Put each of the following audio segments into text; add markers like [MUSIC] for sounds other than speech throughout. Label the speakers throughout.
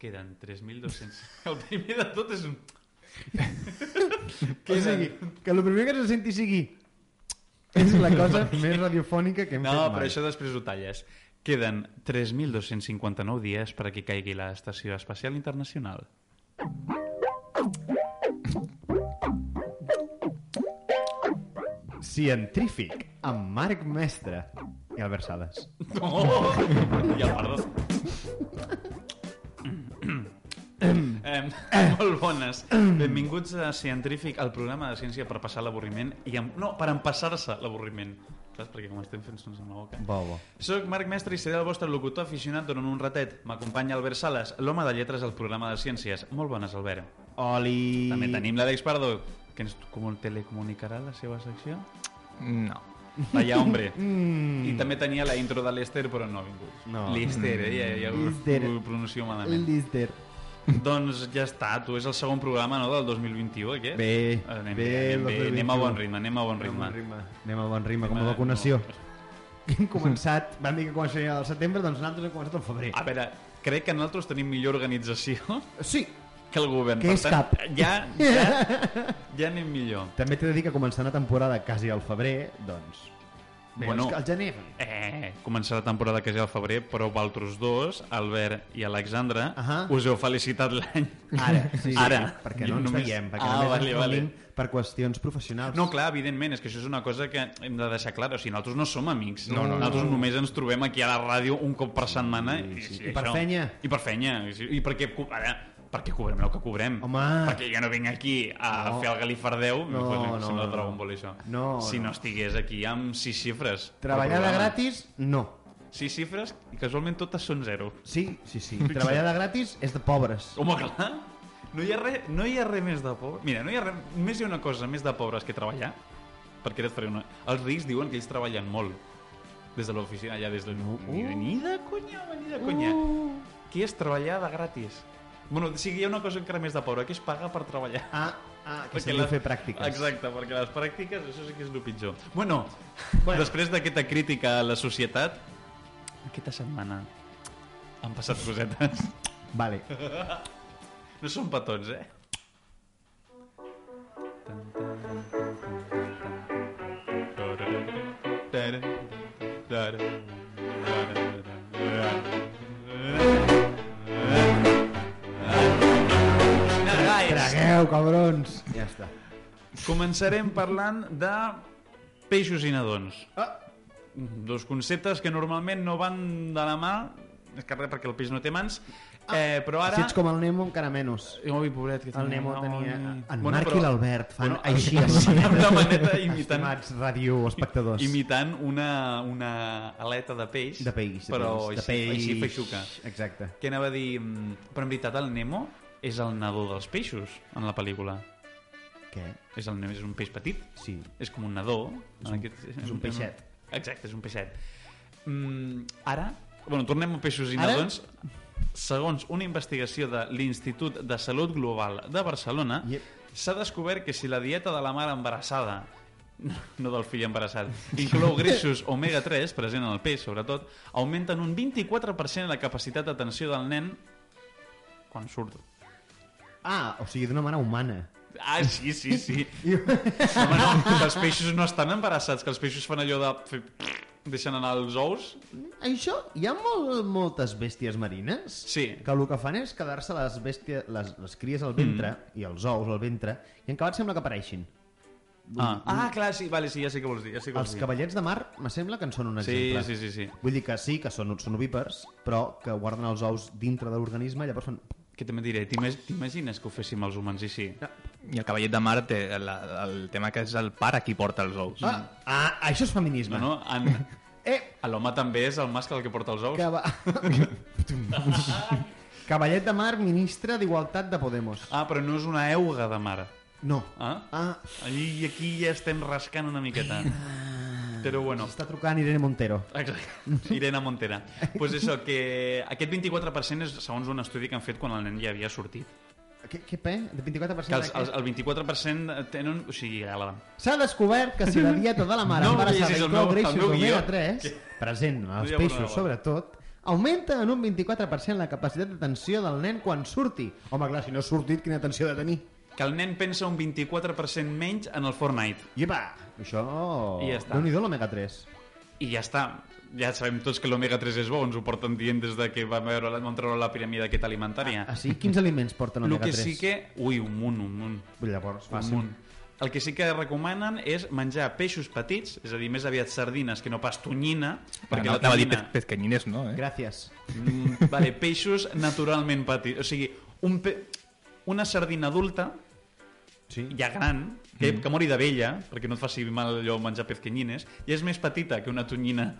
Speaker 1: Queden 3.200. [LAUGHS] El primer de tot és un...
Speaker 2: O sigui, que el primer que se senti sigui és la cosa més radiofònica que hem
Speaker 1: No,
Speaker 2: fet mai.
Speaker 1: però això després ho talles. Queden 3.259 dies per a que caigui l'Estació Espacial Internacional.
Speaker 2: Científic, amb Marc Mestre i Albert Sales.
Speaker 1: Oh! [LAUGHS] Ja, perdó. Eh, molt bones. Benvinguts a Científic, al programa de ciència per passar l'avorriment i amb... No, per empassar-se l'avorriment. Saps? Perquè com estem fent sons amb la boca.
Speaker 2: Bo, bo.
Speaker 1: Soc Marc Mestre i seré el vostre locutor aficionat durant un ratet. M'acompanya Albert Sales, l'home de lletres al programa de ciències. Molt bones, Albert.
Speaker 2: Oli!
Speaker 1: També tenim l'Àlex Pardo, que ens com telecomunicarà la seva secció.
Speaker 3: No.
Speaker 1: Allà, hombre. I
Speaker 2: Mm.
Speaker 1: també tenia la intro de l'Ester, però no ha vingut.
Speaker 2: No.
Speaker 1: L'Ester, eh? Ja, ja ho,
Speaker 2: L'Ester.
Speaker 1: ho pronuncio
Speaker 2: El
Speaker 1: malament.
Speaker 2: Lister.
Speaker 1: doncs ja està, tu és el segon programa, no?, del 2021, aquest? Ah,
Speaker 2: Bé,
Speaker 1: anem
Speaker 2: bé,
Speaker 1: bé, anem, bé.
Speaker 2: 2021.
Speaker 1: anem a bon ritme, anem a bon ritme.
Speaker 2: Anem a bon ritme, com a
Speaker 1: Ritme,
Speaker 2: vacunació. Hem començat, van dir que començaria al setembre, doncs nosaltres hem començat al febrer.
Speaker 1: A veure, crec que nosaltres tenim millor organització
Speaker 2: Sí,
Speaker 1: que el govern.
Speaker 2: Que
Speaker 1: Per
Speaker 2: és
Speaker 1: tant,
Speaker 2: cap.
Speaker 1: Ja, ja, ja anem millor.
Speaker 2: [LAUGHS] També t'he de dir que començant la temporada quasi al febrer, doncs... Bé,
Speaker 1: Bueno.
Speaker 2: bueno, el gener.
Speaker 1: Eh, comença la temporada que ja al febrer, però vosaltres dos, Albert i Alexandra,
Speaker 2: Ahà.
Speaker 1: us heu felicitat l'any. [LAUGHS]
Speaker 2: Ara, sí,
Speaker 1: Ara.
Speaker 2: perquè
Speaker 1: Jo
Speaker 2: no ens
Speaker 1: només-
Speaker 2: veiem, perquè
Speaker 1: ah,
Speaker 2: només
Speaker 1: vale,
Speaker 2: ens
Speaker 1: vale.
Speaker 2: veiem per qüestions professionals.
Speaker 1: No, clar, evidentment, és que això és una cosa que hem de deixar clara. O sigui, nosaltres no som amics.
Speaker 3: No, no, no.
Speaker 1: nosaltres només ens trobem aquí a la ràdio un cop per setmana. I,
Speaker 2: sí. I per fenya.
Speaker 1: I per fenya. I, sí, i perquè, co- ara, perquè cobrem el que cobrem.
Speaker 2: Home.
Speaker 1: Perquè jo no vinc aquí a
Speaker 2: No.
Speaker 1: fer el galifardeu.
Speaker 2: No, no,
Speaker 1: sembla
Speaker 2: no.
Speaker 1: Dragon Ball, això.
Speaker 2: No,
Speaker 1: si no.
Speaker 2: no.
Speaker 1: estigués aquí amb sis xifres.
Speaker 2: Treballar de gratis, no.
Speaker 1: Sis xifres i casualment totes són zero.
Speaker 2: Sí, sí,
Speaker 1: [LAUGHS]
Speaker 2: sí. Treballar de gratis és de pobres.
Speaker 1: Home, clar. No hi ha res, no hi ha res més de pobre. Mira, no hi ha res, més hi ha una cosa més de pobres que treballar. Perquè ara et faré una... Els rics diuen que ells treballen molt. Des de l'oficina, allà des de... Uh, ni, de- ni de conya, home, ni de conya. Uh. Què és treballar de gratis? Bueno, o sigui, hi ha una cosa encara més de pobre, que és pagar per treballar.
Speaker 2: Ah, ah, que se li
Speaker 1: les-
Speaker 2: fer pràctiques.
Speaker 1: Exacte, perquè les pràctiques, això sí que és el pitjor. Bueno, bueno. després d'aquesta crítica a la societat, aquesta setmana han
Speaker 2: [LAUGHS]
Speaker 1: passat cosetes. [LAUGHS]
Speaker 2: Vale.
Speaker 1: No són petons, eh?
Speaker 2: Tragueu, cabrons. Ja està.
Speaker 1: Començarem parlant de peixos i nadons.
Speaker 2: Ah,
Speaker 1: Dos conceptes que normalment no van de la mà, és que res, perquè el peix no té mans, eh, però ara...
Speaker 2: Si Ah. ets com el Nemo, encara menys.
Speaker 1: Oi, pobret, que
Speaker 2: El Nemo tenia... En
Speaker 1: Bueno,
Speaker 2: Marc
Speaker 1: però-
Speaker 2: i l'Albert fan
Speaker 1: bueno,
Speaker 2: així
Speaker 1: [LAUGHS]
Speaker 2: amb
Speaker 1: així,
Speaker 2: la
Speaker 1: amb la maneta,
Speaker 2: maneta.
Speaker 1: imitant-
Speaker 2: Estimats radioespectadors.
Speaker 1: imitant una, una aleta de peix.
Speaker 2: De peix, de
Speaker 1: però
Speaker 2: peix, de
Speaker 1: així,
Speaker 2: peix.
Speaker 1: així feixuca.
Speaker 2: Exacte.
Speaker 1: Què anava a dir? Mm, Però en veritat el Nemo és el nadó dels peixos en la pel·lícula.
Speaker 2: Què?
Speaker 1: És, el, Nemo, és un peix petit.
Speaker 2: Sí.
Speaker 1: És com un nadó. És
Speaker 2: un- és un peixet.
Speaker 1: Exacte, és un peixet. Mm, ara, bueno, tornem a peixos i
Speaker 2: Ara?
Speaker 1: nadons. Segons una investigació de l'Institut de Salut Global de Barcelona,
Speaker 2: Yep.
Speaker 1: s'ha descobert que si la dieta de la mare embarassada [LAUGHS] no del fill embarassat, inclou greixos omega-3, present en el peix, sobretot, augmenten un 24% la capacitat d'atenció del nen quan surt.
Speaker 2: Ah, o sigui, d'una mare humana.
Speaker 1: Ah, sí, sí, sí. Home, no, que els peixos no estan embarassats, que els peixos fan allò de... Fer... deixen anar els ous.
Speaker 2: Això, hi ha molt, moltes bèsties marines
Speaker 1: Sí.
Speaker 2: que el que fan és quedar-se les, bèsties, les, les cries al ventre
Speaker 1: Mm.
Speaker 2: i els ous al ventre i en acabat sembla que apareixin.
Speaker 1: Ah, ah clar, sí, vale, sí, ja sé què vols dir. Ja sé què
Speaker 2: Els
Speaker 1: vols dir.
Speaker 2: cavallets de mar, me sembla que en són un
Speaker 1: Sí,
Speaker 2: exemple.
Speaker 1: sí, sí, sí.
Speaker 2: Vull dir que sí, que són, són ovípers, però que guarden els ous dintre de l'organisme i llavors fan...
Speaker 1: Què també diré? T'imag- T'imagines que ho féssim els humans i sí?
Speaker 3: I el cavallet de mar té la, el tema que és el pare qui porta els ous.
Speaker 2: Ah, ah, això és feminisme.
Speaker 1: Mm. No, no? En...
Speaker 2: Eh,
Speaker 1: A L'home també és el mascle el que porta els ous?
Speaker 2: cava... [LAUGHS] Cavallet de mar, ministre d'Igualtat de Podemos.
Speaker 1: Ah, però no és una euga de mare.
Speaker 2: No.
Speaker 1: Ah?
Speaker 2: Ah,
Speaker 1: I aquí ja estem rascant una miqueta. Però bueno,
Speaker 2: està trucant Irene Montero.
Speaker 1: Exacte. Irene Montera. Doncs pues això, que aquest 24% és segons un estudi que han fet quan el nen ja havia sortit.
Speaker 2: Què, què pe? De 24%
Speaker 1: Que els,
Speaker 2: de què?
Speaker 1: els, el 24% tenen... O sigui, a la,
Speaker 2: S'ha descobert que si la dieta de la mare
Speaker 1: No,
Speaker 2: embarassada
Speaker 1: llegis el
Speaker 2: inclou
Speaker 1: meu- el
Speaker 2: greixos
Speaker 1: meu guió.
Speaker 2: omega-3, present en els
Speaker 1: Ja,
Speaker 2: peixos
Speaker 1: perdó.
Speaker 2: sobretot, Augmenta en un 24% la capacitat d'atenció del nen quan surti. Home, clar, si no ha sortit, quina atenció ha de tenir?
Speaker 1: Que el nen pensa un 24% menys en el Fortnite.
Speaker 2: Iepa! Això...
Speaker 1: I ja està.
Speaker 2: déu nhi l'Omega 3.
Speaker 1: I ja està. Ja sabem tots que l'Omega 3 és bo, ens ho porten dient des de que vam veure la, vam treure la piràmide aquesta alimentària.
Speaker 2: Ah, sí? Quins aliments porten
Speaker 1: El
Speaker 2: Omega
Speaker 1: que
Speaker 2: 3?
Speaker 1: sí que... Ui, un munt, un munt.
Speaker 2: Llavors,
Speaker 1: Un
Speaker 2: fàcil.
Speaker 1: munt. El que sí que recomanen és menjar peixos petits, és a dir, més aviat sardines que no pas tonyina, perquè
Speaker 3: Perquè no
Speaker 1: la
Speaker 3: t'anava a dir
Speaker 1: tonyina...
Speaker 3: pez- pezcañines, no, eh?
Speaker 2: Gràcies.
Speaker 1: Mm, vale, peixos naturalment petits. O sigui, un pe... una sardina adulta,
Speaker 2: Sí.
Speaker 1: ja gran, que, que mori de vella, perquè no et faci mal allò menjar pezquenyines, i és més petita que una tonyina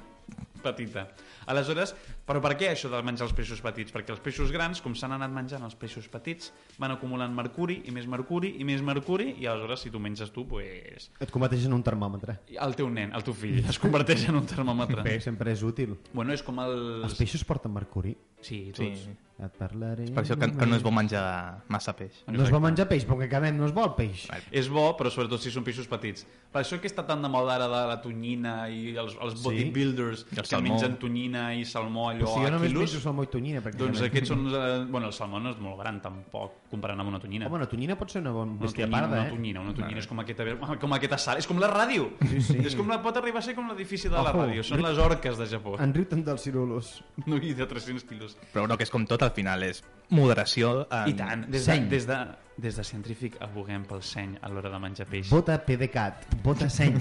Speaker 1: petita. Aleshores, però per què això de menjar els peixos petits? Perquè els peixos grans, com s'han anat menjant els peixos petits, van acumulant mercuri, i més mercuri, i més mercuri, i aleshores, si tu menges tu, pues,
Speaker 2: Et converteixes en un termòmetre.
Speaker 1: el teu nen, el teu fill, es converteix en un termòmetre.
Speaker 2: Bé, sempre és útil.
Speaker 1: Bueno, és com
Speaker 2: Els
Speaker 1: els...
Speaker 2: peixos porten mercuri.
Speaker 1: Sí,
Speaker 3: Sí.
Speaker 1: tots. Sí.
Speaker 2: Et parlaré...
Speaker 3: Per això que, que no es vol menjar massa peix.
Speaker 2: No es vol menjar peix, perquè acabem, no es vol peix.
Speaker 3: Vale.
Speaker 1: És bo, però sobretot si són peixos petits. Per això que està tan de moda ara de la tonyina i els, els bodybuilders
Speaker 3: I el
Speaker 1: que
Speaker 3: salmó.
Speaker 1: mengen tonyina i salmó allò
Speaker 2: Però si jo
Speaker 1: a
Speaker 2: només
Speaker 1: quilos,
Speaker 2: menjo salmó i tonyina, perquè...
Speaker 1: doncs aquests són... eh, Bueno, el salmó no és molt gran tampoc, comparant amb una tonyina.
Speaker 2: Home, una tonyina pot ser una bona
Speaker 1: una
Speaker 2: bèstia
Speaker 1: Doncs tonyina,
Speaker 2: parda,
Speaker 1: una
Speaker 2: eh?
Speaker 1: tonyina, una tonyina és com aquesta, com aquesta sala, és com la ràdio. Sí, sí. És com la pot arribar a ser com l'edifici de la
Speaker 2: Ojo.
Speaker 1: ràdio, són les orques de Japó.
Speaker 2: En riu tant dels cirulos.
Speaker 1: No hi ha de 300 quilos.
Speaker 3: Però no, que és com tot, al final és moderació en...
Speaker 1: I tant, des de,
Speaker 2: Seny.
Speaker 1: des de, des de científic aboguem pel seny a l'hora de menjar peix.
Speaker 2: Vota PDeCAT, vota
Speaker 1: [LAUGHS]
Speaker 2: seny,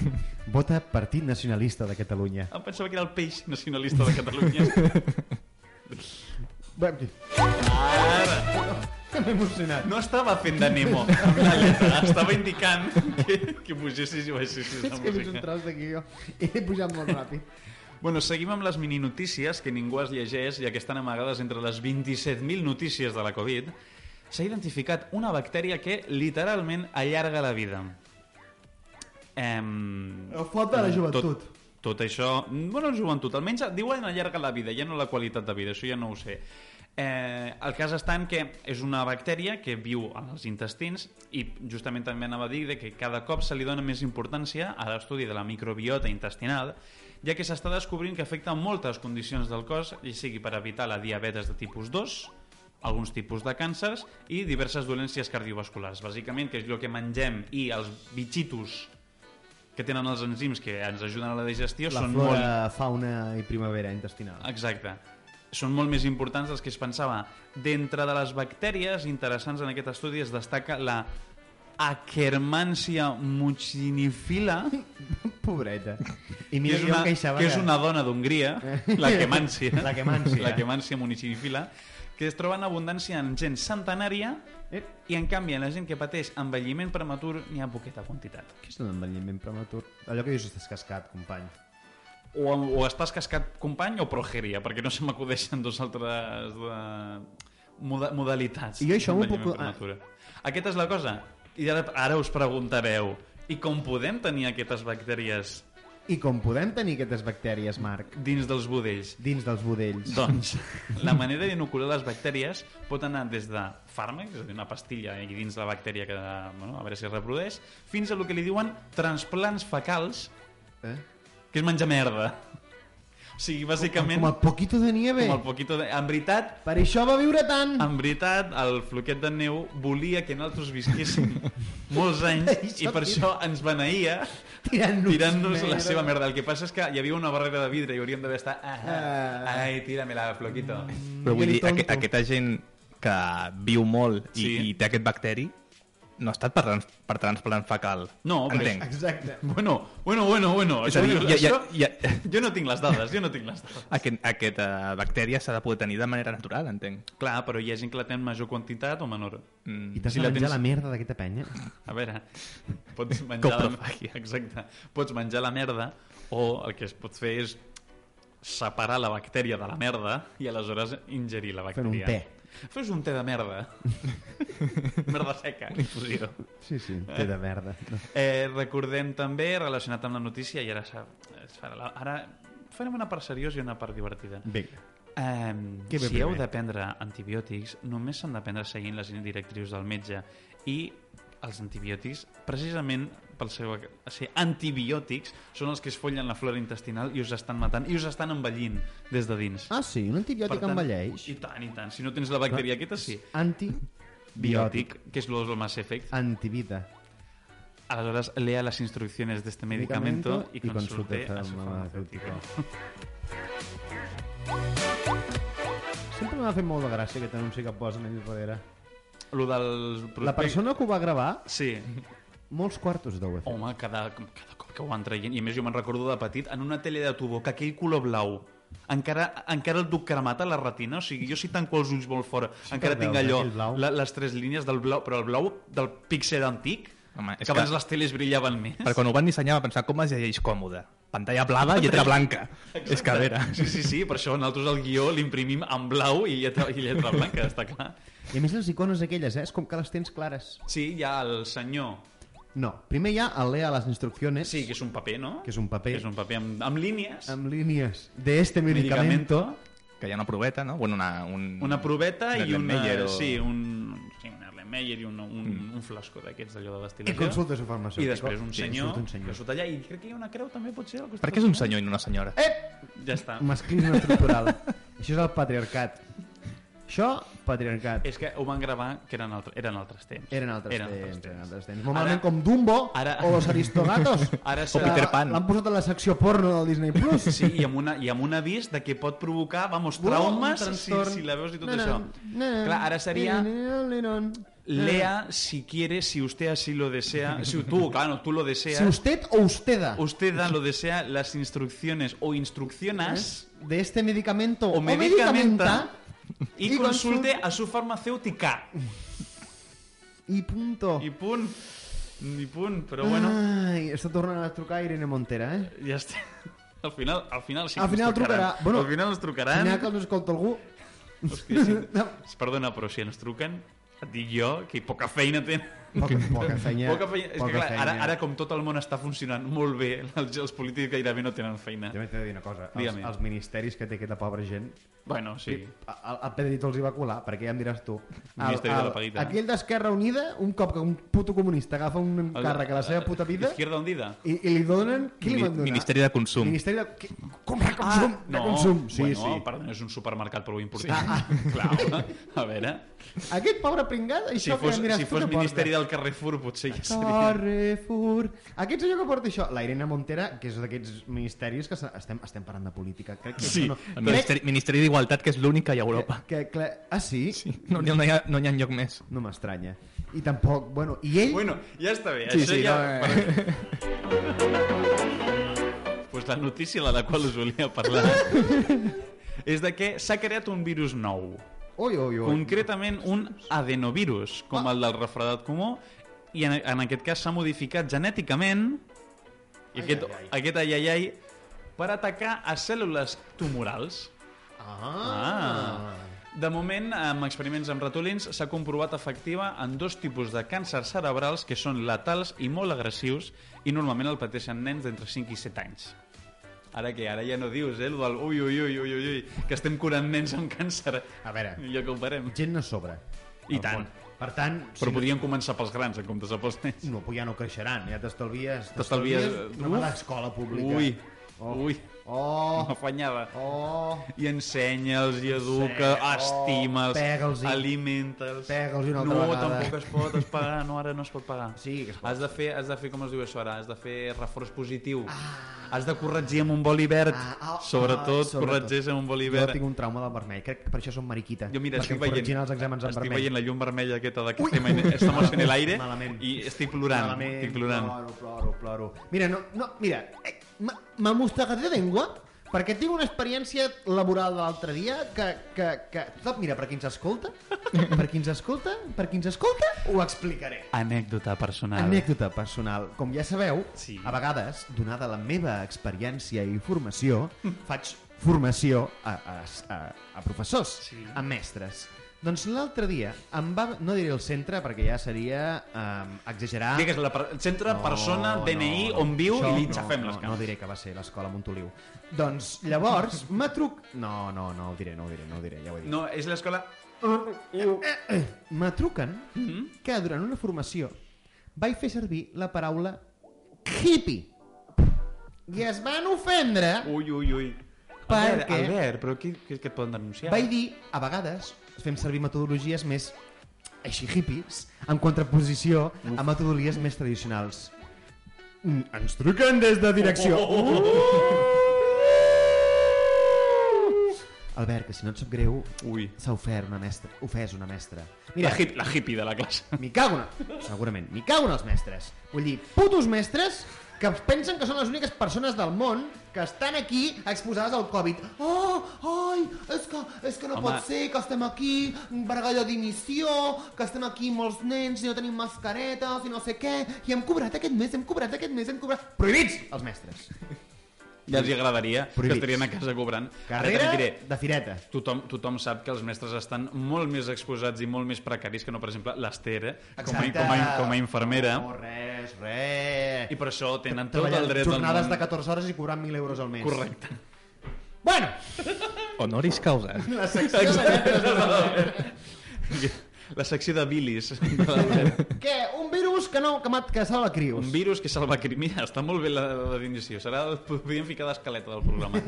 Speaker 2: vota Partit Nacionalista de Catalunya.
Speaker 1: Em pensava que era el peix nacionalista de Catalunya.
Speaker 2: [LAUGHS] Bé, que m'he emocionat.
Speaker 1: No estava fent de Nemo amb la lletra, estava indicant que, que pugessis i baixessis la
Speaker 2: És que he vist un
Speaker 1: música.
Speaker 2: tros d'aquí jo. He pujat molt ràpid.
Speaker 1: Bueno, seguim amb les mininotícies que ningú es llegeix ja que estan amagades entre les 27.000 notícies de la Covid. S'ha identificat una bactèria que literalment allarga la vida. Em... eh,
Speaker 2: El fot de la joventut.
Speaker 1: Tot, tot això... Bueno, joventut, almenys diuen allarga la vida, ja no la qualitat de vida, això ja no ho sé. Eh, el cas està en que és una bactèria que viu en els intestins i justament també anava a dir de que cada cop se li dona més importància a l'estudi de la microbiota intestinal ja que s'està descobrint que afecta moltes condicions del cos, i sigui per evitar la diabetes de tipus 2, alguns tipus de càncers i diverses dolències cardiovasculars. Bàsicament, que és el que mengem i els bitxitos que tenen els enzims que ens ajuden a la digestió
Speaker 2: La
Speaker 1: són
Speaker 2: flora,
Speaker 1: molt... Ah.
Speaker 2: fauna i primavera intestinal.
Speaker 1: Exacte. Són molt més importants dels que es pensava. D'entre de les bactèries interessants en aquest estudi es destaca la Akkermansia mucinifila, [LAUGHS]
Speaker 2: Pobreta. I
Speaker 1: que
Speaker 2: mira,
Speaker 1: és
Speaker 2: jo
Speaker 1: una,
Speaker 2: em queixava
Speaker 1: que és una dona d'Hongria, la Quemància,
Speaker 2: Eh. [LAUGHS] La Akkermansia.
Speaker 1: la Quemància municipila, que es troba en abundància en gent centenària
Speaker 2: Eh,
Speaker 1: i, en canvi, en la gent que pateix envelliment prematur n'hi ha poqueta quantitat.
Speaker 2: Què és un envelliment prematur? Allò que dius estàs cascat, company.
Speaker 1: O, o estàs cascat company o progeria, perquè no se m'acudeixen dos altres de... moda modalitats.
Speaker 2: I jo això m'ho
Speaker 1: d'envelliment
Speaker 2: puc-
Speaker 1: prematura. Aquesta és la cosa. I ara, ara us preguntareu, i com podem tenir aquestes bactèries
Speaker 2: I com podem tenir aquestes bactèries, Marc?
Speaker 1: dins dels budells?
Speaker 2: Dins dels budells.
Speaker 1: Doncs la manera d'inocular les bactèries pot anar des de fàrmacs, és a dir, una pastilla eh, i dins la bactèria que, bueno, a veure si es reprodueix, fins a lo que li diuen transplants fecals,
Speaker 2: Eh?
Speaker 1: que és menjar merda. O sigui, bàsicament,
Speaker 2: Com el poquito de nieve.
Speaker 1: com el poquito de... En veritat,
Speaker 2: Per això va viure tant.
Speaker 1: en veritat, el floquet de neu volia que nosaltres visquéssim [LAUGHS] molts anys i per això ens beneïa
Speaker 2: Tirant-nos
Speaker 1: tirant-nos la
Speaker 2: merda.
Speaker 1: seva merda. El que passa és que hi havia una barrera de vidre i hauríem d'haver estat... Ah, ah,
Speaker 2: Ah.
Speaker 1: ai, tírame-la, floquito.
Speaker 3: Però vull dir,
Speaker 2: Miguel
Speaker 3: aqu
Speaker 2: Mm, Tonto.
Speaker 3: aquesta gent que viu molt i,
Speaker 1: Sí.
Speaker 3: i té aquest bacteri no ha estat per, trans per transplant fecal.
Speaker 1: No, perquè-
Speaker 3: Entenc.
Speaker 2: Exacte.
Speaker 1: Bueno, bueno, bueno, bueno.
Speaker 3: És a dir,
Speaker 1: Això-
Speaker 3: ja, ja,
Speaker 1: això-
Speaker 3: ja,
Speaker 1: Jo no tinc les dades, jo no tinc les dades.
Speaker 3: aquest, aquesta bactèria s'ha de poder tenir de manera natural, entenc.
Speaker 1: Clar, però hi ha gent que la té en major quantitat o menor.
Speaker 2: I
Speaker 3: Mm.
Speaker 2: t'has
Speaker 1: Si
Speaker 2: si
Speaker 1: la
Speaker 2: de menjar
Speaker 1: tens-
Speaker 2: la merda d'aquesta penya?
Speaker 1: A veure, [LAUGHS] pots menjar la...
Speaker 3: Coprofàgia.
Speaker 1: Exacte. Pots menjar la merda o el que es pot fer és separar la bactèria de la merda i aleshores ingerir la
Speaker 2: Fent un
Speaker 1: bactèria.
Speaker 2: té.
Speaker 1: Fes un té de
Speaker 2: [LAUGHS]
Speaker 1: merda. merda seca. Infusió.
Speaker 2: Sí, sí, té de merda. No.
Speaker 1: Eh, recordem també, relacionat amb la notícia, i ara, s'ha- es farà la... ara farem una part seriosa i una part divertida.
Speaker 2: Vinga.
Speaker 1: Um,
Speaker 2: Què ve
Speaker 1: si heu
Speaker 2: primer?
Speaker 1: de prendre antibiòtics, només s'han de prendre seguint les directrius del metge i els antibiòtics, precisament pel seu ser antibiòtics, són els que es follen la flora intestinal i us estan matant i us estan envellint des de dins.
Speaker 2: Ah, sí, un
Speaker 1: Per
Speaker 2: antibiòtic
Speaker 1: tant,
Speaker 2: envelleix.
Speaker 1: I tant, i tant. Si no tens la bacteria aquesta, sí.
Speaker 2: Antibiòtic.
Speaker 1: Biòtic, que és lo del Mass Effect.
Speaker 2: Antivida.
Speaker 1: Aleshores, lea las instrucciones de este medicamento, y consulte, a su farmacéutico.
Speaker 2: Sempre m'ha fet molt de gràcia aquest anunci que posen allà darrere.
Speaker 1: Lo del...
Speaker 2: La persona que ho va gravar,
Speaker 1: Sí.
Speaker 2: molts quartos deu haver fet.
Speaker 1: Home, cada, cada cop que ho van traient... I a més, jo me'n recordo de petit, en una tele de tubo, que aquell color blau... Encara, encara el duc cremat a la retina, o sigui, jo si tanco els ulls molt fort, encara
Speaker 2: que
Speaker 1: tinc
Speaker 2: veus
Speaker 1: allò,
Speaker 2: aquell blau.
Speaker 1: la, les tres línies del blau, però el blau del píxel antic,
Speaker 3: Home,
Speaker 1: que,
Speaker 3: és
Speaker 1: que abans
Speaker 3: que-
Speaker 1: les teles brillaven més.
Speaker 3: Per quan ho van dissenyar va pensar com es llegeix còmode. Pantalla blava, lletra blanca. És que a veure...
Speaker 1: Sí, sí, sí, per això nosaltres el guió l'imprimim en blau i lletra, i lletra blanca, està clar.
Speaker 2: I a més les icones aquelles, eh? És com que les tens clares.
Speaker 1: Sí, hi ha el senyor,
Speaker 2: No, primer hi ha el Lea les instrucciones,
Speaker 1: sí, que és un paper, no?
Speaker 2: que és un paper
Speaker 1: Que és un paper amb, amb línies,
Speaker 2: amb línies de este medicamento,
Speaker 3: Que hi ha una proveta, no? Bueno, una... Un...
Speaker 1: una proveta
Speaker 3: Mm. un
Speaker 1: i una...
Speaker 3: Erlenmeyer o- Mm.
Speaker 1: Sí, un, sí, un Erlenmeyer i un, un, un flasco d'aquests d'allò de
Speaker 2: i
Speaker 1: destil·lació.
Speaker 2: consulta su farmacèutico.
Speaker 1: I després un
Speaker 2: Sí,
Speaker 1: senyor,
Speaker 2: surt un
Speaker 1: que
Speaker 2: senyor.
Speaker 1: surt allà i crec que hi ha una creu també, potser, al costat.
Speaker 3: Per què és un senyor i no una senyora? Eh!
Speaker 1: Ja està.
Speaker 2: Masclisme estructural. Això és el patriarcat. Això, patriarcat.
Speaker 1: És que ho van gravar que eren, altre, eren altres temps.
Speaker 2: Eren altres
Speaker 1: eren
Speaker 2: temps,
Speaker 1: Altres
Speaker 2: eren
Speaker 1: temps.
Speaker 2: altres temps. Normalment
Speaker 1: Ara-
Speaker 2: com Dumbo
Speaker 1: ara-
Speaker 2: o los Aristogatos.
Speaker 1: Ara
Speaker 2: Que
Speaker 1: serà...
Speaker 3: Peter Pan.
Speaker 2: L'han posat a la secció porno del Disney Plus.
Speaker 1: Sí, i amb, una, i amb un avís de que pot provocar, vamos,
Speaker 2: Bueno,
Speaker 1: traumes,
Speaker 2: un
Speaker 1: si,
Speaker 2: trastorn.
Speaker 1: si la veus i tot
Speaker 2: Nanan,
Speaker 1: això.
Speaker 2: nanan,
Speaker 1: Clar, ara seria...
Speaker 2: nanan, nanan, nanan.
Speaker 1: Lea, si quiere, si usted así lo desea, si tú, claro, tú lo deseas,
Speaker 2: Si usted o usteda
Speaker 1: usted da lo desea las instrucciones o instruccionas
Speaker 2: ¿Eh? de este medicamento
Speaker 1: o
Speaker 2: o
Speaker 1: medicamenta
Speaker 2: medicamenta
Speaker 1: y
Speaker 2: y
Speaker 1: consulte
Speaker 2: consulte-
Speaker 1: a su farmacéutica.
Speaker 2: i punto.
Speaker 1: Y pun, y pun, pero
Speaker 2: Ah.
Speaker 1: bueno,
Speaker 2: Ai, està tornant a trucar Irene Montera, eh?
Speaker 1: ya está. [LAUGHS] Al final, al final sí que
Speaker 2: Al
Speaker 1: nos
Speaker 2: final
Speaker 1: trucaran.
Speaker 2: trucarà. Bueno,
Speaker 1: al final nos trucarán.
Speaker 2: N'hi ha que els escolta algú.
Speaker 1: Hòstia,
Speaker 2: [LAUGHS]
Speaker 1: sí. Perdona, però si ens truquen, et dic jo que poca feina tenen.
Speaker 2: Poca, poca feina.
Speaker 1: Poca feina. És que, clar, ara, ara com tot el món està funcionant molt bé, els, els polítics gairebé no tenen feina.
Speaker 2: Jo m'he de dir una cosa. Els,
Speaker 1: Digue-me.
Speaker 2: els ministeris que té aquesta pobra gent,
Speaker 1: Bueno, sí.
Speaker 2: a- a- el Pedrito els hi va colar, perquè ja em diràs tu.
Speaker 1: Ministeri de la paguita.
Speaker 2: aquell d'Esquerra Unida, un cop que un puto comunista agafa un càrrec a la seva puta vida
Speaker 1: Izquierda hundida.
Speaker 2: i, i li donen... Qui li
Speaker 3: Mi-
Speaker 2: van donar?
Speaker 3: Ministeri de Consum.
Speaker 2: Ministeri de... Qui- Com reconsum? Ah, no. Reconsum, sí,
Speaker 1: bueno,
Speaker 2: sí.
Speaker 1: perdona, és un supermercat prou important. [LAUGHS] Ah. Clar, home. a veure,
Speaker 2: Aquest pobre pringat,
Speaker 1: si
Speaker 2: això que
Speaker 1: fos,
Speaker 2: em diràs
Speaker 1: si
Speaker 2: tu
Speaker 1: fos
Speaker 2: que porta.
Speaker 1: Ministeri del Carrefour potser ja seria...
Speaker 2: [LAUGHS] Carrefour. Aquest senyor que porta això, la Irene Montera, que és d'aquests ministeris que se- estem, estem parlant de política. Crec que
Speaker 1: Sí,
Speaker 2: això no. Crec
Speaker 3: El
Speaker 1: eh.
Speaker 3: Ministeri, Ministeri d'Igualtat, que és l'única a Europa.
Speaker 2: que, que, ah, sí?
Speaker 3: Sí, no, n'hi- no, hi ha, no hi ha enlloc més.
Speaker 2: No m'estranya. I tampoc, bueno, i ell...
Speaker 1: Bueno, ja està bé.
Speaker 3: Sí,
Speaker 1: això
Speaker 3: sí,
Speaker 1: ja...
Speaker 3: no,
Speaker 1: No,
Speaker 2: eh.
Speaker 1: [LAUGHS] pues la notícia de la qual us volia
Speaker 2: [LAUGHS]
Speaker 1: parlar és de que s'ha creat un virus nou.
Speaker 2: Ui, ui, ui.
Speaker 1: Concretament un adenovirus,
Speaker 2: Ah.
Speaker 1: com el del refredat comú, i en, en aquest cas s'ha modificat genèticament i aquest,
Speaker 2: ai, ai.
Speaker 1: aquest ai, ai, ai, per atacar a cèl·lules tumorals.
Speaker 2: Ah.
Speaker 1: De moment, amb experiments amb ratolins, s'ha comprovat efectiva en dos tipus de càncers cerebrals que són letals i molt agressius i normalment el pateixen nens d'entre 5 i 7 anys. Ara que ara ja no dius, eh, el del ui, ui, ui, ui, ui, ui, que estem curant nens amb càncer.
Speaker 2: A veure.
Speaker 1: Millor que ho parem.
Speaker 2: Gent a sobre.
Speaker 1: I
Speaker 2: Al
Speaker 1: tant.
Speaker 2: fons. Per tant,
Speaker 1: Però podien començar pels grans en comptes de pels nens.
Speaker 2: no, ja no creixeran, ja t'estalvies...
Speaker 1: T'estalvies-
Speaker 2: Una mala
Speaker 1: Uf.
Speaker 2: escola pública.
Speaker 1: Ui,
Speaker 2: Oh.
Speaker 1: ui,
Speaker 2: Oh,
Speaker 1: afanyada.
Speaker 2: oh,
Speaker 1: I ensenya'ls, i educa,
Speaker 2: oh,
Speaker 1: estima'ls,
Speaker 2: pega'ls-hi.
Speaker 1: alimenta'ls.
Speaker 2: Pega'ls-hi una altra
Speaker 1: no,
Speaker 2: vegada.
Speaker 1: tampoc es pot, es paga, no, ara no es pot pagar.
Speaker 2: Sí, que es pot.
Speaker 1: Has de fer, has de fer com es diu això ara, has de fer reforç positiu. Has de corregir amb un boli verd.
Speaker 2: Ah, ah,
Speaker 1: sobretot,
Speaker 2: ah, sobretot.
Speaker 1: corregeix amb un boli
Speaker 2: jo
Speaker 1: verd.
Speaker 2: tinc un trauma del vermell. Crec que per això som mariquita.
Speaker 1: Jo, mira,
Speaker 2: perquè
Speaker 1: estic
Speaker 2: em corregien
Speaker 1: veient,
Speaker 2: els exàmens en
Speaker 1: estic
Speaker 2: vermell.
Speaker 1: veient la llum vermella aquesta de que
Speaker 2: Ui!
Speaker 1: estem, en, estamos
Speaker 2: [LAUGHS]
Speaker 1: en el aire
Speaker 2: Malament.
Speaker 1: i estic plorant,
Speaker 2: Malament,
Speaker 1: estic plorant.
Speaker 2: Ploro, ploro, ploro. Mira, no, no, mira, eh, m'ha- m'ha mostregat de llengua perquè tinc una experiència laboral de l'altre dia que, que, que... Tot, mira, per qui ens escolta, per qui ens escolta, per qui ens escolta, ho explicaré.
Speaker 1: Anècdota personal.
Speaker 2: Anècdota personal. Com ja sabeu,
Speaker 1: Sí.
Speaker 2: a vegades, donada la meva experiència i formació, [LAUGHS] faig formació a, a, a, a professors,
Speaker 1: Sí.
Speaker 2: a mestres. Doncs l'altre dia em va... No diré el centre perquè ja seria um, exagerar...
Speaker 1: Ah. Digues la per... centre,
Speaker 2: No,
Speaker 1: persona,
Speaker 2: no,
Speaker 1: DNI, on viu
Speaker 2: això
Speaker 1: i li xafem
Speaker 2: no,
Speaker 1: les
Speaker 2: No, no
Speaker 1: cames.
Speaker 2: diré que va ser l'escola Montoliu. Doncs llavors m'ha truc... No, no, no ho diré, no ho diré, no ho diré, ja ho he dit.
Speaker 1: No, és l'escola...
Speaker 2: M'atruquen que durant una formació vaig fer servir la paraula hippie. I es van ofendre
Speaker 1: Ui, ui, ui.
Speaker 2: Per
Speaker 1: Albert,
Speaker 2: què?
Speaker 1: Albert, però qui, qui, que et poden denunciar?
Speaker 2: Vaig dir, a vegades, fem servir metodologies més així hippies, en contraposició a metodologies més tradicionals. Mm, Ens truquen des de direcció. Albert, que si no et sap greu,
Speaker 1: Ui.
Speaker 2: s'ha ofert una mestra, ofès una mestra.
Speaker 1: Mira,
Speaker 2: Mira,
Speaker 1: la, hip, la hippie de la classe.
Speaker 2: m'hi cago en... Segurament, m'hi cago en els mestres. Vull dir, putos mestres que pensen que són les úniques persones del món que estan aquí exposades al Covid. Oh, ai, és que, és que no
Speaker 1: Home.
Speaker 2: Home. pot ser que estem aquí, bargalla dimissió, que estem aquí molts nens i no tenim mascaretes i no sé què, i hem cobrat aquest mes, hem cobrat aquest mes, hem cobrat... Prohibits, els mestres.
Speaker 1: Ja els hi agradaria
Speaker 2: Prohibits.
Speaker 1: que estarien a casa cobrant. Ara
Speaker 2: Carrera
Speaker 1: també diré,
Speaker 2: de fireta.
Speaker 1: tothom, tothom sap que els mestres estan molt més exposats i molt més precaris que no, per exemple, l'Esther, eh? com, a, com, a, com a infermera.
Speaker 2: No, res, res.
Speaker 1: I per això tenen tot
Speaker 2: Treballant
Speaker 1: el dret del
Speaker 2: jornades
Speaker 1: món.
Speaker 2: de 14 hores i cobrant 1.000 euros al mes.
Speaker 1: Correcte.
Speaker 2: Bueno,
Speaker 3: Honoris causa.
Speaker 2: la secció de lletres de l'Albert.
Speaker 1: [LAUGHS] La secció de
Speaker 2: [LAUGHS]
Speaker 1: bilis. de l'Albert.
Speaker 2: Què? Un virus que no, que, mat, que salva crios.
Speaker 1: Un virus que salva crim. Mira, està molt bé la, la definició. Serà, el- podríem ficar l'escaleta del programa.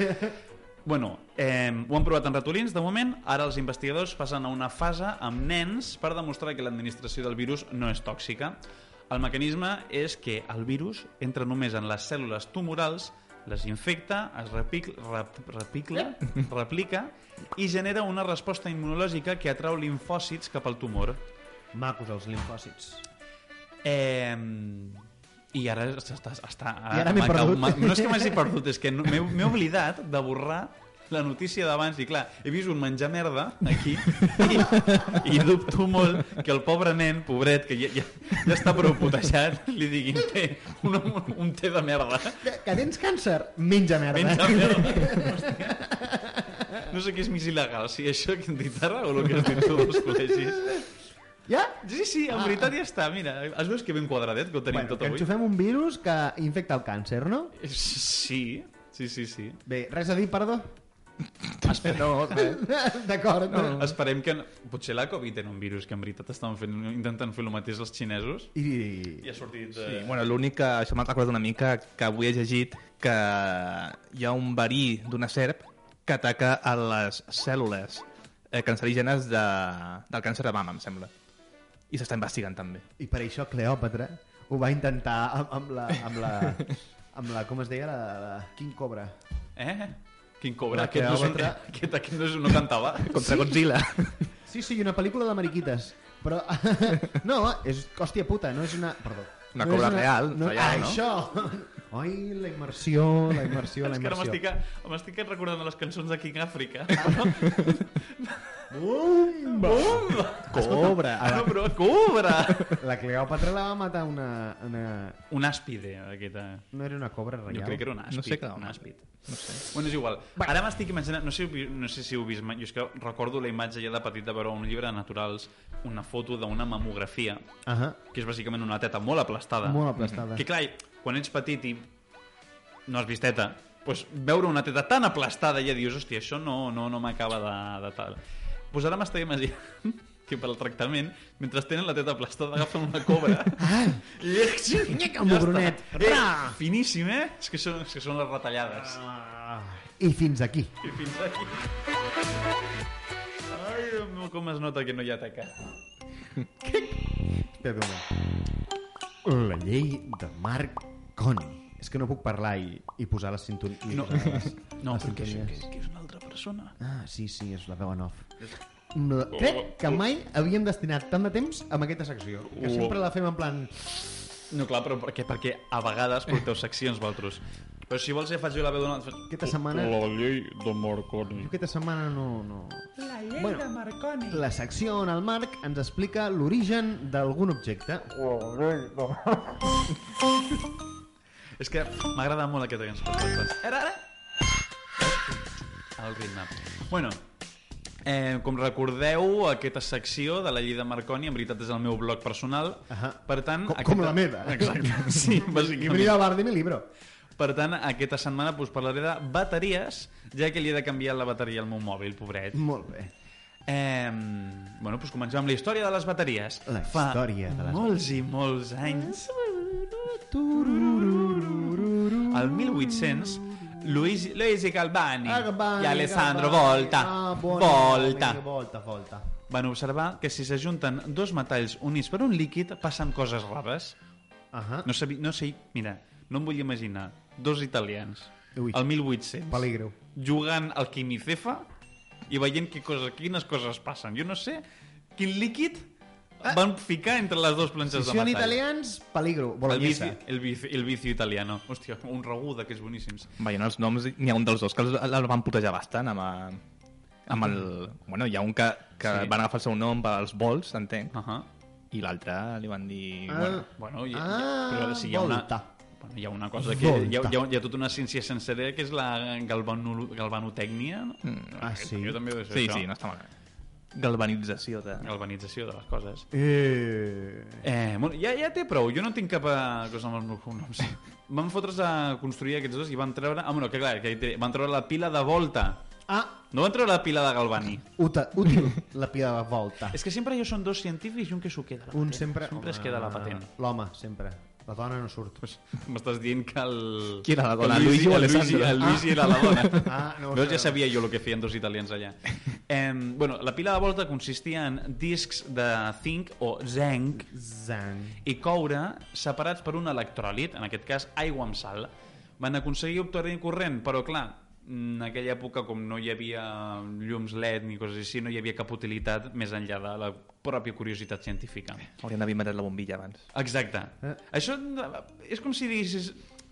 Speaker 1: Bueno, eh, ho han provat en ratolins, de moment. Ara els investigadors passen a una fase amb nens per demostrar que l'administració del virus no és tòxica. El mecanisme és que el virus entra només en les cèl·lules tumorals, les infecta, es repic, rep, repicla, replica i genera una resposta immunològica que atrau linfòcits cap al tumor.
Speaker 2: Macos els linfòcits.
Speaker 1: Eh, I ara està... està
Speaker 2: I ara m'he
Speaker 1: m'ha
Speaker 2: perdut.
Speaker 1: m'ha- No és que m'hagi perdut, és que no- m'he m'he oblidat de borrar la notícia d'abans i clar, he vist un menjar merda aquí i, i dubto molt que el pobre nen, pobret, que ja, ja, ja està prou putejat, li diguin té un, un, un té de merda.
Speaker 2: Que, que tens càncer? Menja merda.
Speaker 1: Menja merda. No sé què és més il·legal, si això que hem dit ara o el que has dit tu dels col·legis.
Speaker 2: eh? Ja?
Speaker 1: Sí, sí, en veritat ja està, mira, es veus que ben quadradet que ho tenim
Speaker 2: Bueno,
Speaker 1: tot
Speaker 2: que
Speaker 1: avui.
Speaker 2: enxufem un virus que infecta el càncer, no?
Speaker 1: Sí, sí, sí, sí.
Speaker 2: Bé, res a dir, perdó? [LAUGHS]
Speaker 3: No, res.
Speaker 2: D'acord. No.
Speaker 1: Eh, Esperem que... Potser la Covid era un virus que en veritat estaven fent, intentant fer el mateix els xinesos
Speaker 2: I...
Speaker 1: i ha sortit...
Speaker 3: Sí,
Speaker 1: Eh...
Speaker 3: bueno, l'únic que... Això m'ha recordat una mica que avui he llegit que hi ha un verí d'una serp que ataca a les cèl·lules eh, cancerígenes de, del càncer de mama, em sembla. I s'està investigant també.
Speaker 2: I per això Cleòpatra ho va intentar amb, amb la... Amb la... Amb la, com es deia, la, la King Cobra.
Speaker 1: eh? Quin cobra,
Speaker 2: La
Speaker 1: aquest no, és un, [LAUGHS]
Speaker 2: Cleòpatra.
Speaker 1: aquest, aquest no, és un, no cantava.
Speaker 3: Contra sí. Godzilla.
Speaker 2: Sí, sí, una pel·lícula de mariquites. Però, [LAUGHS] no, és, hòstia puta, no és una... Perdó. no
Speaker 3: Una
Speaker 2: és
Speaker 3: cobra real,
Speaker 2: ah,
Speaker 3: real, no?
Speaker 2: Això! Ai, la immersió, la immersió, la
Speaker 3: [LAUGHS]
Speaker 1: És que ara m'estic,
Speaker 2: immersió. Ah,
Speaker 1: m'estic recordant de les cançons de King Africa.
Speaker 2: Bomba!
Speaker 3: Cobra.
Speaker 1: Ah, no, però cobra!
Speaker 2: La Cleòpatra la va matar una... una...
Speaker 1: Un àspide, eh. aquesta.
Speaker 2: No era una cobra real.
Speaker 1: Jo crec que era un àspid.
Speaker 3: No sé què
Speaker 1: un
Speaker 3: demana.
Speaker 1: àspid.
Speaker 3: No sé.
Speaker 1: Bueno, és igual. Ara m'estic imaginant... No sé, si ho vi- no sé si heu vist mai... Jo és que recordo la imatge ja de petit de veure un llibre de naturals, una foto d'una mamografia,
Speaker 2: Ahà,
Speaker 1: que és bàsicament una teta molt aplastada.
Speaker 2: molt aplastada.
Speaker 1: Que clar, quan ets petit i no has vist teta, doncs veure una teta tan aplastada ja dius, hòstia, això no, no, no m'acaba de, de tal. Doncs ara m'està imaginant [LAUGHS] que pel tractament, mentre tenen la teta aplastada, agafen una cobra.
Speaker 2: Ah,
Speaker 1: I ja
Speaker 2: Nyaca, un mobronet.
Speaker 1: està. Eh,
Speaker 2: Ra!
Speaker 1: finíssim, eh? És que són, és que són les retallades.
Speaker 2: Ah. I fins aquí.
Speaker 1: I fins aquí. Ai, Déu meu, com es nota que no hi ha taca.
Speaker 2: Espera, espera. La llei de Marc Coni. És que no puc parlar i, i posar les sintonies.
Speaker 1: No, no
Speaker 2: les
Speaker 1: perquè és,
Speaker 2: sintonies.
Speaker 1: que, que és una altra persona.
Speaker 2: Ah, sí, sí, és la veu en off. La-
Speaker 1: Oh.
Speaker 2: Crec que mai havíem destinat tant de temps a aquesta secció. Que
Speaker 1: Oh.
Speaker 2: sempre la fem en plan...
Speaker 1: No, clar, però perquè, perquè a vegades porteu seccions vosaltres. Però si vols ja faig jo la veu d'una...
Speaker 2: Aquesta setmana...
Speaker 4: La llei de Marconi.
Speaker 2: Jo aquesta setmana no... no...
Speaker 5: La llei
Speaker 2: Bueno.
Speaker 5: de Marconi.
Speaker 2: La secció on el Marc ens explica l'origen d'algun objecte.
Speaker 1: Oh. És que m'agrada molt aquesta cançó. Era ara? eh? El ritme. Bueno, eh, com recordeu, aquesta secció de la llei de Marconi, en veritat és el meu blog personal.
Speaker 2: Ahà.
Speaker 1: Per tant...
Speaker 2: Com- com la meva. [LAUGHS]
Speaker 1: Exacte, sí, bàsicament.
Speaker 2: Bienvenido a Bar de mi libro.
Speaker 1: Per tant, aquesta setmana us parlaré de bateries, ja que li he de canviar la bateria al meu mòbil, pobret.
Speaker 2: Molt bé.
Speaker 1: Eh, bueno, doncs comencem amb la història de les bateries.
Speaker 2: La història de les
Speaker 1: molts i molts anys... Al 1800, Luigi, Luigi Galvani
Speaker 2: Ah, Galvani,
Speaker 1: i Alessandro
Speaker 2: Galvani.
Speaker 1: Volta,
Speaker 2: Ah, buoni,
Speaker 1: Volta
Speaker 2: buoni, Volta, Volta.
Speaker 1: van observar que si s'ajunten dos metalls units per un líquid passen coses rares.
Speaker 2: Ahà.
Speaker 1: No sé, no sé, mira, no em vull imaginar dos italians
Speaker 2: Ui.
Speaker 1: al 1800
Speaker 2: Peligro.
Speaker 1: jugant al quimicefa i veient que cosa, quines coses passen. Jo no sé quin líquid van ficar entre les dues planxes
Speaker 2: Ah.
Speaker 1: de
Speaker 2: Si són
Speaker 1: metall.
Speaker 2: italians, peligro.
Speaker 1: el vici,
Speaker 2: Bolognesa.
Speaker 1: el, vici, el vici italiano. Hòstia, un regú d'aquests boníssims.
Speaker 3: Veient els noms, n'hi ha un dels dos que els, el van putejar bastant amb, eh, amb el... Bueno, hi ha un que, que
Speaker 1: Mm-hmm. Sí.
Speaker 3: sí. van agafar el seu nom pels vols, entenc,
Speaker 1: Uh -huh.
Speaker 3: i l'altre li van dir...
Speaker 2: Ah.
Speaker 3: Ah. Bueno,
Speaker 1: Bueno, hi,
Speaker 2: Ah,
Speaker 1: però si hi ha una...
Speaker 2: volta.
Speaker 1: Bueno, hi ha una cosa que... Hi ha,
Speaker 2: Volta.
Speaker 1: hi, ha, hi ha tota una ciència sencera que és la galvano, galvanotècnia. No? Mm,
Speaker 2: ah, sí?
Speaker 1: Jo també ho deixo,
Speaker 3: sí,
Speaker 1: això.
Speaker 3: sí, no està malament. Galvanització de...
Speaker 1: Galvanització de les coses.
Speaker 2: Eh...
Speaker 1: Eh, bueno, ja, ja té prou, jo no tinc cap eh, cosa amb els meus cognoms. [LAUGHS] Van fotre's a construir aquests dos i van treure... Ah, bueno, que clar, que hi té- van treure la pila de volta.
Speaker 2: Ah,
Speaker 1: No van treure la pila de Galvani.
Speaker 2: uta, útil, la pila de volta.
Speaker 1: És que sempre jo són dos científics i un que s'ho queda. la
Speaker 2: Un
Speaker 1: patent.
Speaker 2: sempre...
Speaker 1: Sempre es
Speaker 2: home,
Speaker 1: queda la patent.
Speaker 2: L'home, sempre. La dona no surt.
Speaker 1: Pues, M'estàs dient que el...
Speaker 3: Qui era la dona,
Speaker 1: el
Speaker 3: Luigi o
Speaker 1: el
Speaker 3: Alessandro?
Speaker 1: Luigi,
Speaker 3: Ah.
Speaker 1: el Luigi era la
Speaker 3: [LAUGHS]
Speaker 1: dona.
Speaker 2: Ah, no ho
Speaker 1: Veus,
Speaker 2: sabia.
Speaker 1: ja sabia jo el que feien dos italians allà. Eh, bueno, la pila de volta consistia en discs de zinc o zinc
Speaker 2: Zang.
Speaker 1: i coure separats per un electròlit, en aquest cas aigua amb sal. Van aconseguir obtenir corrent, però clar, en aquella època, com no hi havia llums LED ni coses així, no hi havia cap utilitat més enllà de la pròpia curiositat científica.
Speaker 3: Haurien d'haver inventat la bombilla abans.
Speaker 1: Exacte. Eh?
Speaker 2: Eh?
Speaker 1: Això eh, és com si diguessis...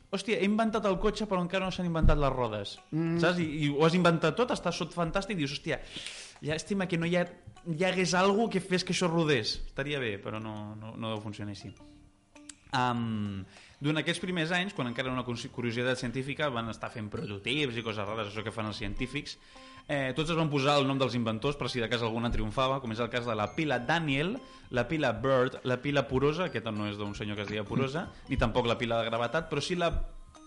Speaker 1: Hòstia, he inventat el cotxe però encara no s'han inventat les rodes. Mm. Saps? I, I ho has inventat tot, estàs sot fantàstic i dius, hòstia, llàstima que no hi, ha, hi hagués algú que fes que això rodés. Estaria bé, però no, no, no deu funcionar així. Um, durant aquests primers anys, quan encara era una cursi- curiositat científica, van estar fent prototips i coses rares, això que fan els científics. Eh, tots es van posar el nom dels inventors per si de cas alguna triomfava, com és el cas de la pila Daniel, la pila Bird, la pila Purosa, aquesta no és d'un senyor que es deia Purosa, ni tampoc la pila de gravetat, però sí la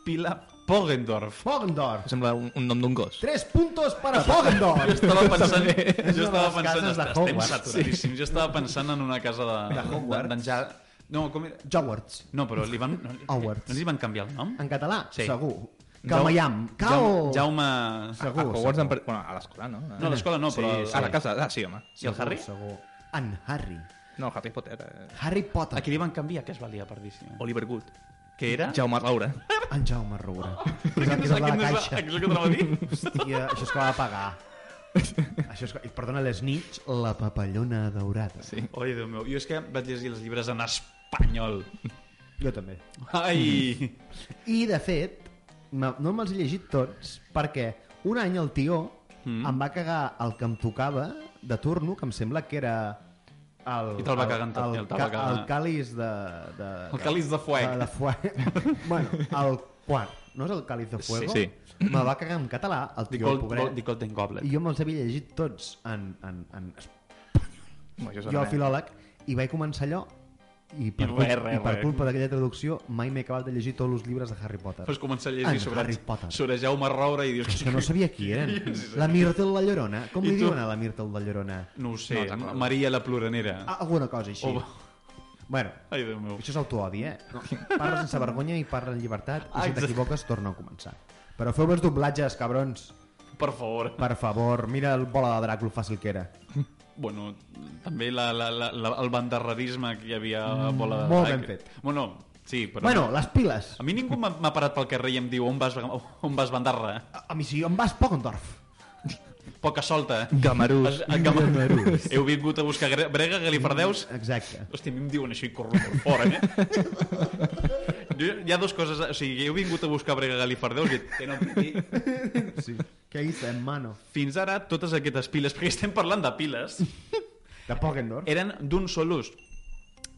Speaker 1: pila Pogendorf.
Speaker 2: Fogendor.
Speaker 3: Sembla un, un nom d'un gos.
Speaker 2: Tres puntos para Fogendor.
Speaker 1: Jo estava pensant, jo
Speaker 2: una de
Speaker 1: estava
Speaker 2: les
Speaker 1: pensant,
Speaker 2: cases de
Speaker 1: estem
Speaker 2: Hogwarts.
Speaker 1: saturadíssim, jo estava pensant en una casa de...
Speaker 2: De Hogwarts.
Speaker 1: d'en Ja- No, com era?
Speaker 2: Jowards.
Speaker 1: No, però li van... No,
Speaker 2: Hogwarts.
Speaker 1: no li van canviar el nom?
Speaker 2: En català,
Speaker 1: Sí.
Speaker 2: sí. segur.
Speaker 1: Jau-
Speaker 2: Camallam. Cao.
Speaker 1: Jau- Jaume...
Speaker 2: Segur.
Speaker 3: a Ah, Hogwarts, han per... bueno, a l'escola, no?
Speaker 1: No, a l'escola no, però...
Speaker 3: A la casa, ah, sí, home.
Speaker 1: I el Harry?
Speaker 2: Segur. En Harry.
Speaker 3: No, Harry Potter. Eh...
Speaker 2: Harry Potter.
Speaker 1: A qui li van canviar, que es valia per eh? dir
Speaker 3: Oliver Good.
Speaker 1: Que era?
Speaker 3: Jaume Roura.
Speaker 2: En Jaume Roura. És el que és el de la caixa.
Speaker 1: Això que te va dir?
Speaker 2: Hòstia, això és que va pagar. Això és que... I perdona, les nits, la papallona daurada. Sí.
Speaker 1: [LAUGHS] Oi, Déu meu, jo és que vaig llegir els llibres en espanyol.
Speaker 2: Jo també.
Speaker 1: [LAUGHS] Ai!
Speaker 2: I, de fet, me- no me'ls he llegit tots, perquè un any el tio mm. em va cagar el que em tocava de turno, que em sembla que era... El,
Speaker 1: I te'l va cagar en tot,
Speaker 2: el,
Speaker 1: i el
Speaker 2: el,
Speaker 1: te'l va
Speaker 2: ca,
Speaker 1: cagar.
Speaker 2: el càliz de, de...
Speaker 1: El càliz de fuego.
Speaker 2: De, de
Speaker 1: [LAUGHS]
Speaker 2: fuego. bueno, el quart. No és el càliz de fuego?
Speaker 3: Sí.
Speaker 2: Me va cagar en català, el
Speaker 1: The
Speaker 2: tio, el
Speaker 1: Gold,
Speaker 2: pobret.
Speaker 1: The Golden Goblet.
Speaker 2: I jo me'ls havia llegit tots en, en, en
Speaker 3: No, això és
Speaker 2: jo,
Speaker 3: res.
Speaker 2: filòleg, i vaig començar allò i per,
Speaker 1: I
Speaker 2: cul-
Speaker 1: res, res,
Speaker 2: i per
Speaker 1: res.
Speaker 2: culpa d'aquella traducció mai m'he acabat de llegir tots els llibres de Harry Potter.
Speaker 1: Pots començar a
Speaker 2: En
Speaker 1: llegir sobre,
Speaker 2: Harry Potter.
Speaker 1: sobre Jaume Roura i dius...
Speaker 2: És que no sabia qui
Speaker 1: [LAUGHS]
Speaker 2: eren. La Myrtle la Llorona? Com
Speaker 1: I
Speaker 2: li
Speaker 1: tu?
Speaker 2: diuen a la Myrtle la Llorona?
Speaker 1: No ho sé,
Speaker 3: No,
Speaker 1: no,
Speaker 3: d'acord.
Speaker 1: Maria la Ploranera.
Speaker 2: Ah, alguna cosa així.
Speaker 1: O-
Speaker 2: Bueno,
Speaker 1: Ai, Déu meu.
Speaker 2: això és autoodi, eh? No. Parla sense vergonya i parla en llibertat i
Speaker 1: Ah,
Speaker 2: si
Speaker 1: exacte.
Speaker 2: t'equivoques torna a començar. Però feu els doblatges, cabrons.
Speaker 1: Per favor.
Speaker 2: Per favor, mira el bola de Dràcul fàcil que era.
Speaker 1: Bueno, també la, la, la, la, el banderradisme que hi havia a la bola de
Speaker 2: molt
Speaker 1: drac.
Speaker 2: ben fet.
Speaker 1: Bueno, sí, però...
Speaker 2: Bueno, les piles.
Speaker 1: A mi ningú m'ha m'ha parat pel carrer i em diu on vas, on vas bandarra.
Speaker 2: A, a mi sí, on vas, Pocendorf?
Speaker 1: Poca solta. eh?
Speaker 3: Gamarús.
Speaker 1: A- a Gam- Heu vingut a buscar gre- brega, galifardeus?
Speaker 2: Exacte.
Speaker 1: Hòstia, a mi em diuen això i corro molt fort,
Speaker 2: [LAUGHS]
Speaker 1: eh? Jo, hi ha dues coses... O sigui, heu vingut a buscar brega, galifardeus i... Que no, i
Speaker 2: Sí. Què hice, hermano?
Speaker 1: fins ara, totes aquestes piles, perquè estem parlant de piles,
Speaker 2: De Pocendorf?
Speaker 1: eren d'un sol ús.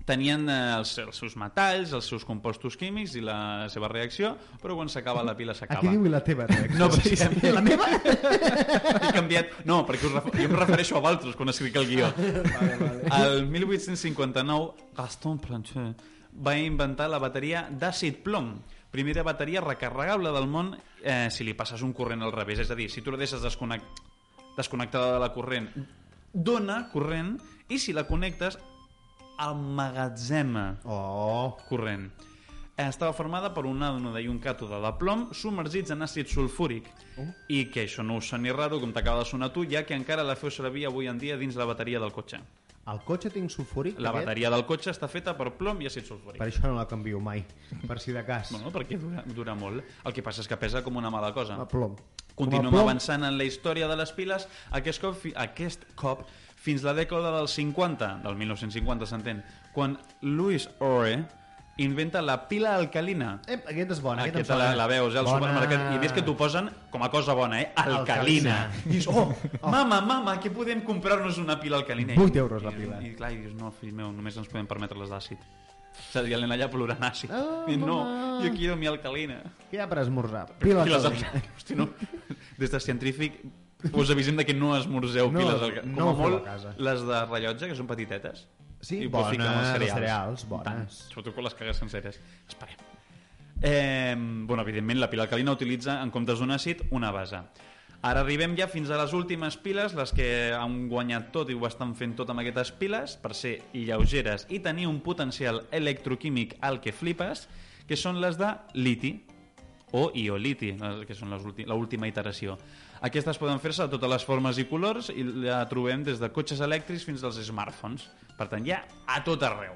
Speaker 1: Tenien eh, els, els seus metalls, els seus compostos químics i la seva reacció, però quan s'acaba la pila s'acaba.
Speaker 2: Aquí diu i la teva reacció.
Speaker 1: No, però sí, sí.
Speaker 2: La meva?
Speaker 1: He canviat... No, perquè us ref... jo em refereixo a Valtros quan escric el guió.
Speaker 2: vale, vale.
Speaker 1: El 1859, Gaston Plancher va inventar la bateria d'àcid plom, primera bateria recarregable del món eh, si li passes un corrent al revés. És a dir, si tu la deixes desconnect... desconnectada de la corrent dona corrent i si la connectes emmagatzema
Speaker 2: Oh,
Speaker 1: corrent. Eh, Estava formada per un ànode i un càtode de plom submergits en àcid sulfúric.
Speaker 2: Oh.
Speaker 1: I que això no us soni raro, com t'acaba de sonar tu, ja que encara la feu servir avui en dia dins la bateria del cotxe.
Speaker 2: el cotxe té insufòric?
Speaker 1: La
Speaker 2: aquest?
Speaker 1: bateria del cotxe està feta per plom i àcid sulfúric.
Speaker 2: Per això no la canvio mai, per si de cas.
Speaker 1: Bueno, perquè dura, dura molt. El que passa és que pesa com una mala cosa.
Speaker 2: A plom.
Speaker 1: Continuem
Speaker 2: Com a plom.
Speaker 1: avançant en la història de les piles, aquest cop, fi- aquest cop fins la dècada dels 50, del 1950 s'entén, quan Louis Ore inventa la pila alcalina.
Speaker 2: Ep, aquest és bon, aquest
Speaker 1: Aquesta la, la veus, eh, al supermercat. I a més que t'ho posen com a cosa bona, eh? Alcalina.
Speaker 2: Alcalina.
Speaker 1: I dius, oh, mama, mama, que podem comprar-nos una pila alcalina. I-
Speaker 2: Vuit euros la
Speaker 1: i-
Speaker 2: pila.
Speaker 1: I, clar, i dius, no, fill meu, només ens podem permetre les d'àcid. O sigui, el nen allà plorant àcid.
Speaker 2: Ah,
Speaker 1: I no,
Speaker 2: mama.
Speaker 1: jo aquí de mi alcalina.
Speaker 2: Què hi ha per esmorzar? Piles
Speaker 1: Piles
Speaker 2: al-
Speaker 1: alcalines. Hosti, no. Des de científic us avisem de que no esmorzeu
Speaker 2: No,
Speaker 1: piles alcalines.
Speaker 2: no
Speaker 1: Com a
Speaker 2: ho feu a
Speaker 1: molt,
Speaker 2: casa.
Speaker 1: les de rellotge, que són petitetes.
Speaker 2: Sí,
Speaker 1: I ho pots
Speaker 2: bones,
Speaker 1: ficar amb els
Speaker 2: els
Speaker 1: cereals.
Speaker 2: cereals, bones.
Speaker 1: Sobretot quan les cagues senceres. Esperem. Eh, bueno, evidentment, la pila alcalina utilitza, en comptes d'un àcid, una base. Ara arribem ja fins a les últimes piles, les que han guanyat tot i ho estan fent tot amb aquestes piles, per ser lleugeres i tenir un potencial electroquímic al que flipes, que són les de liti o ioliti, les- que són les últi- la última iteració. Aquestes poden fer-se de totes les formes i colors i la trobem des de cotxes elèctrics fins als smartphones. Per tant, ja a tot arreu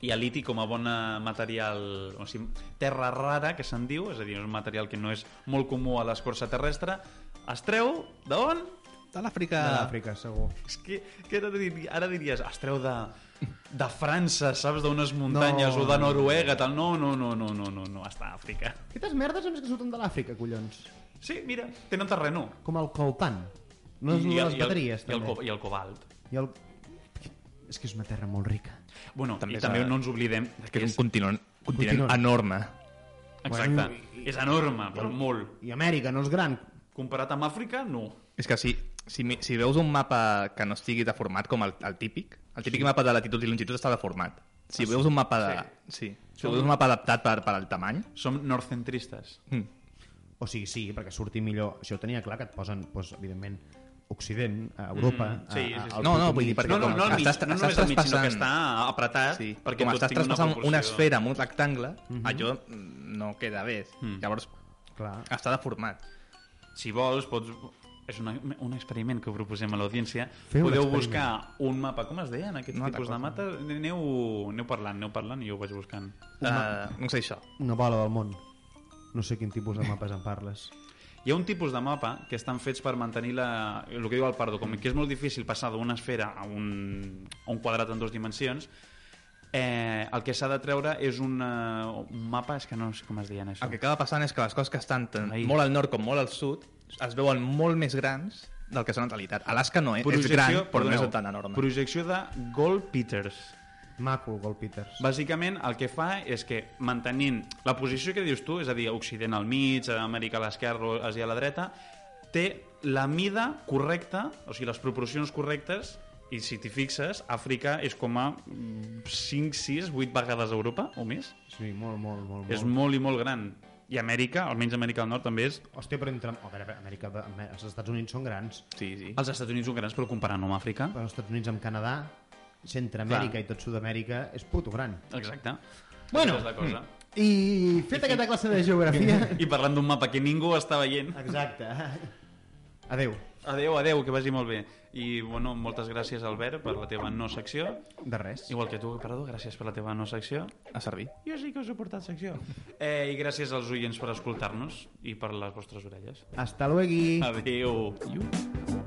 Speaker 1: i a liti com a bon material, o sigui, terra rara, que se'n diu, és a dir, és un material que no és molt comú a l'escorça terrestre, es treu d'on?
Speaker 3: De l'Àfrica.
Speaker 1: Ah.
Speaker 2: De l'Àfrica, segur.
Speaker 1: És que, que ara, dir, ara diries, es treu de, de França, saps, d'unes muntanyes,
Speaker 2: No.
Speaker 1: o de Noruega, tal. No, no, no, no, no, no, no, està a Àfrica.
Speaker 2: Aquestes merdes a més que surten de l'Àfrica, collons.
Speaker 1: Sí, mira, tenen terreno.
Speaker 2: Com el coltan. No és
Speaker 1: el-
Speaker 2: les
Speaker 1: el-
Speaker 2: bateries,
Speaker 1: i el,
Speaker 2: també.
Speaker 1: co- I el cobalt.
Speaker 2: I el... És que és una terra molt rica.
Speaker 1: Bueno,
Speaker 3: També
Speaker 1: també i
Speaker 3: és
Speaker 1: també
Speaker 3: a-
Speaker 1: no ens oblidem de
Speaker 3: Que és un continent, continent
Speaker 2: Continent.
Speaker 3: enorme.
Speaker 1: Exacte.
Speaker 2: Bueno,
Speaker 1: és enorme, però molt.
Speaker 2: I Amèrica, no és gran.
Speaker 1: Comparat amb Àfrica, no.
Speaker 3: És que si, si, mi- si veus un mapa que no estigui deformat com el, el típic, el típic sí. mapa de latitud i longitud està deformat. Si
Speaker 1: Ah,
Speaker 3: veus un mapa de, sí. Si veus un mapa adaptat per, per al tamany,
Speaker 1: Som nordcentristes.
Speaker 3: mm,
Speaker 2: O sigui, sí, perquè surti millor. Això ho tenia clar, que et posen, doncs, evidentment, Occident, a Europa...
Speaker 1: Mm, sí,
Speaker 2: a, a,
Speaker 1: sí, sí.
Speaker 2: al
Speaker 3: No, no,
Speaker 2: puto
Speaker 3: vull dir,
Speaker 2: mig.
Speaker 3: perquè
Speaker 1: No, no,
Speaker 3: com
Speaker 1: no, al mig,
Speaker 3: estàs-
Speaker 1: no
Speaker 3: estàs
Speaker 1: només al mig, sinó que
Speaker 3: traspassant-
Speaker 1: està apretat
Speaker 3: sí.
Speaker 1: perquè
Speaker 3: com
Speaker 1: tot
Speaker 3: estàs
Speaker 1: tingui una Mhm.
Speaker 3: traspassant una,
Speaker 1: proporció.
Speaker 3: esfera amb un rectangle, allò mm, no queda bé.
Speaker 1: Mm.
Speaker 3: Llavors,
Speaker 2: Clar.
Speaker 3: està deformat.
Speaker 1: Si vols, pots... És una, un experiment que proposem a l'audiència.
Speaker 2: Feu
Speaker 1: Podeu
Speaker 2: l'experiment.
Speaker 1: buscar un mapa, com es deien aquest
Speaker 3: Una altra
Speaker 1: tipus de
Speaker 3: cosa.
Speaker 1: mata? Aneu, aneu parlant, aneu parlant i jo ho vaig buscant.
Speaker 3: Uh, no sé això.
Speaker 2: Una bola del món. No sé quin tipus de mapes en parles.
Speaker 1: Hi ha un tipus de mapa que estan fets per mantenir la, el que diu el Pardo, com que és molt difícil passar d'una esfera a un, a un quadrat en dues dimensions, eh, el que s'ha de treure és una, un mapa, és que no sé com es deien això.
Speaker 3: El que acaba passant és que les coses que estan tant
Speaker 1: Ai.
Speaker 3: molt al nord com molt al sud es veuen molt més grans del que són en realitat. Alaska no, eh? és gran, però no
Speaker 1: perdoneu,
Speaker 3: és tan enorme.
Speaker 1: Projecció de Gold Peters.
Speaker 2: Maco, el Gold Peters.
Speaker 1: Bàsicament, el que fa és que, mantenint la posició que dius tu, és a dir, Occident al mig, Amèrica a l'esquerra, Àsia a la dreta, té la mida correcta, o sigui, les proporcions correctes, i si t'hi fixes, Àfrica és com a mm, 5, 6, 8 vegades Europa, o més.
Speaker 2: Sí, molt, molt, molt.
Speaker 1: És molt i molt gran. I Amèrica, almenys Amèrica del Nord, també és...
Speaker 2: Hòstia, però entre... A veure, Amèrica, Amè- els Estats Units són grans.
Speaker 3: Sí, sí.
Speaker 1: Els Estats Units són grans, però comparant amb Àfrica...
Speaker 2: Però els Estats Units amb Canadà, Centroamèrica
Speaker 1: Clar. Eh.
Speaker 2: i tot Sud-amèrica és puto gran.
Speaker 1: Exacte.
Speaker 2: Bueno.
Speaker 1: Aquesta és la cosa.
Speaker 2: I fet aquesta classe de geografia...
Speaker 1: I parlant d'un mapa que ningú està veient.
Speaker 2: Exacte. Adeu.
Speaker 1: Adeu, adeu, que vagi molt bé. I, bueno, moltes gràcies, Albert, per la teva no secció.
Speaker 2: De res.
Speaker 1: Igual que tu, Pardo, gràcies per la teva no secció.
Speaker 3: A servir.
Speaker 1: Jo sí que us he portat secció. Eh, I gràcies als oients per escoltar-nos i per les vostres orelles.
Speaker 2: Hasta luego.
Speaker 1: Adeu. Adeu.